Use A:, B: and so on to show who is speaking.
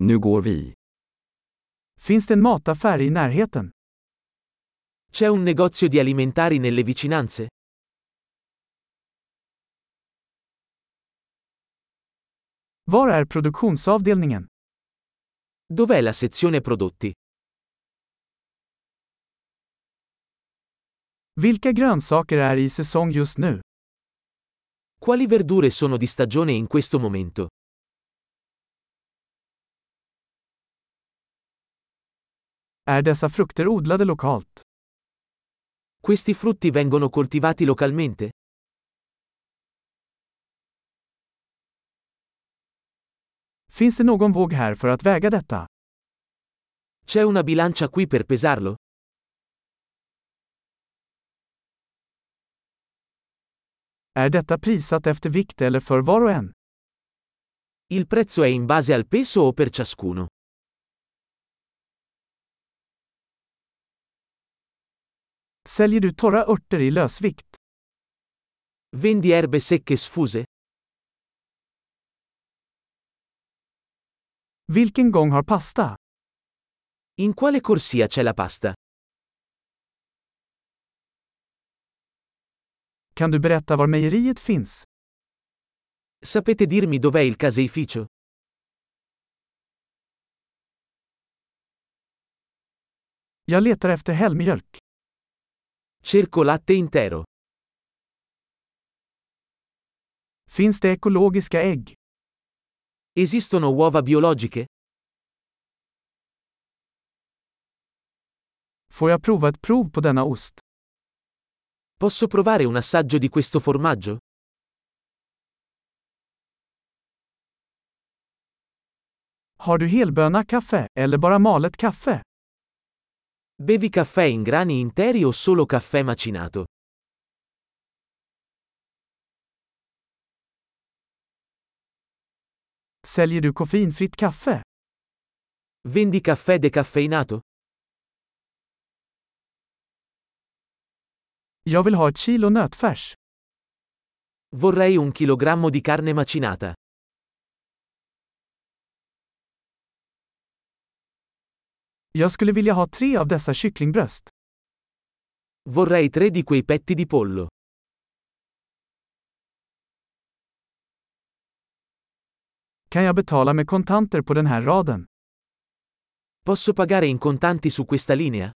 A: Nu går vi.
B: Finns det en mataffär i närheten?
C: C'è un negozio di alimentari nelle vicinanze?
B: Var är produktionsavdelningen?
C: Dov'è la sezione prodotti?
B: Vilka grönsaker är i säsong just nu?
C: Quali verdure sono di stagione in questo momento?
B: Är dessa frukter odlade lokalt?
C: Questi frutti vengono coltivati localmente?
B: Finns det någon våg här för att väga detta?
C: C'è una bilancia qui per pesarlo?
B: Är detta prissatt efter vikt eller för var och en?
C: Il prezzo è in base al peso o per ciascuno?
B: Säljer du torra örter i lösvikt?
C: Vendi erbe secche sfuse?
B: Vilken gång har pasta?
C: In quale corsia c'è la pasta?
B: Kan du berätta var mejeriet finns?
C: Sapete dirmi dov'è il caseificio?
B: Jag letar efter helmjölk.
C: Cerco latte intero.
B: Finns det ekologiska ägg?
C: Esistono uova biologiche?
B: Får jag prova ett prov på denna ost?
C: Posso provare un assaggio di questo formaggio?
B: Har du helböna kaffe, eller bara malet kaffe?
C: Bevi caffè in grani interi o solo caffè macinato?
B: Säljer du koffeinfritt kaffe?
C: Vendi caffè decaffeinato?
B: Jag vill ha ett kilo nötfärs.
C: Vorrei un chilogrammo di carne macinata.
B: Jag skulle vilja ha tre av dessa kycklingbröst.
C: Vorrei tre di quei petti di pollo.
B: Kan jag betala med kontanter på den här raden?
C: Posso pagare in contanti su questa linea?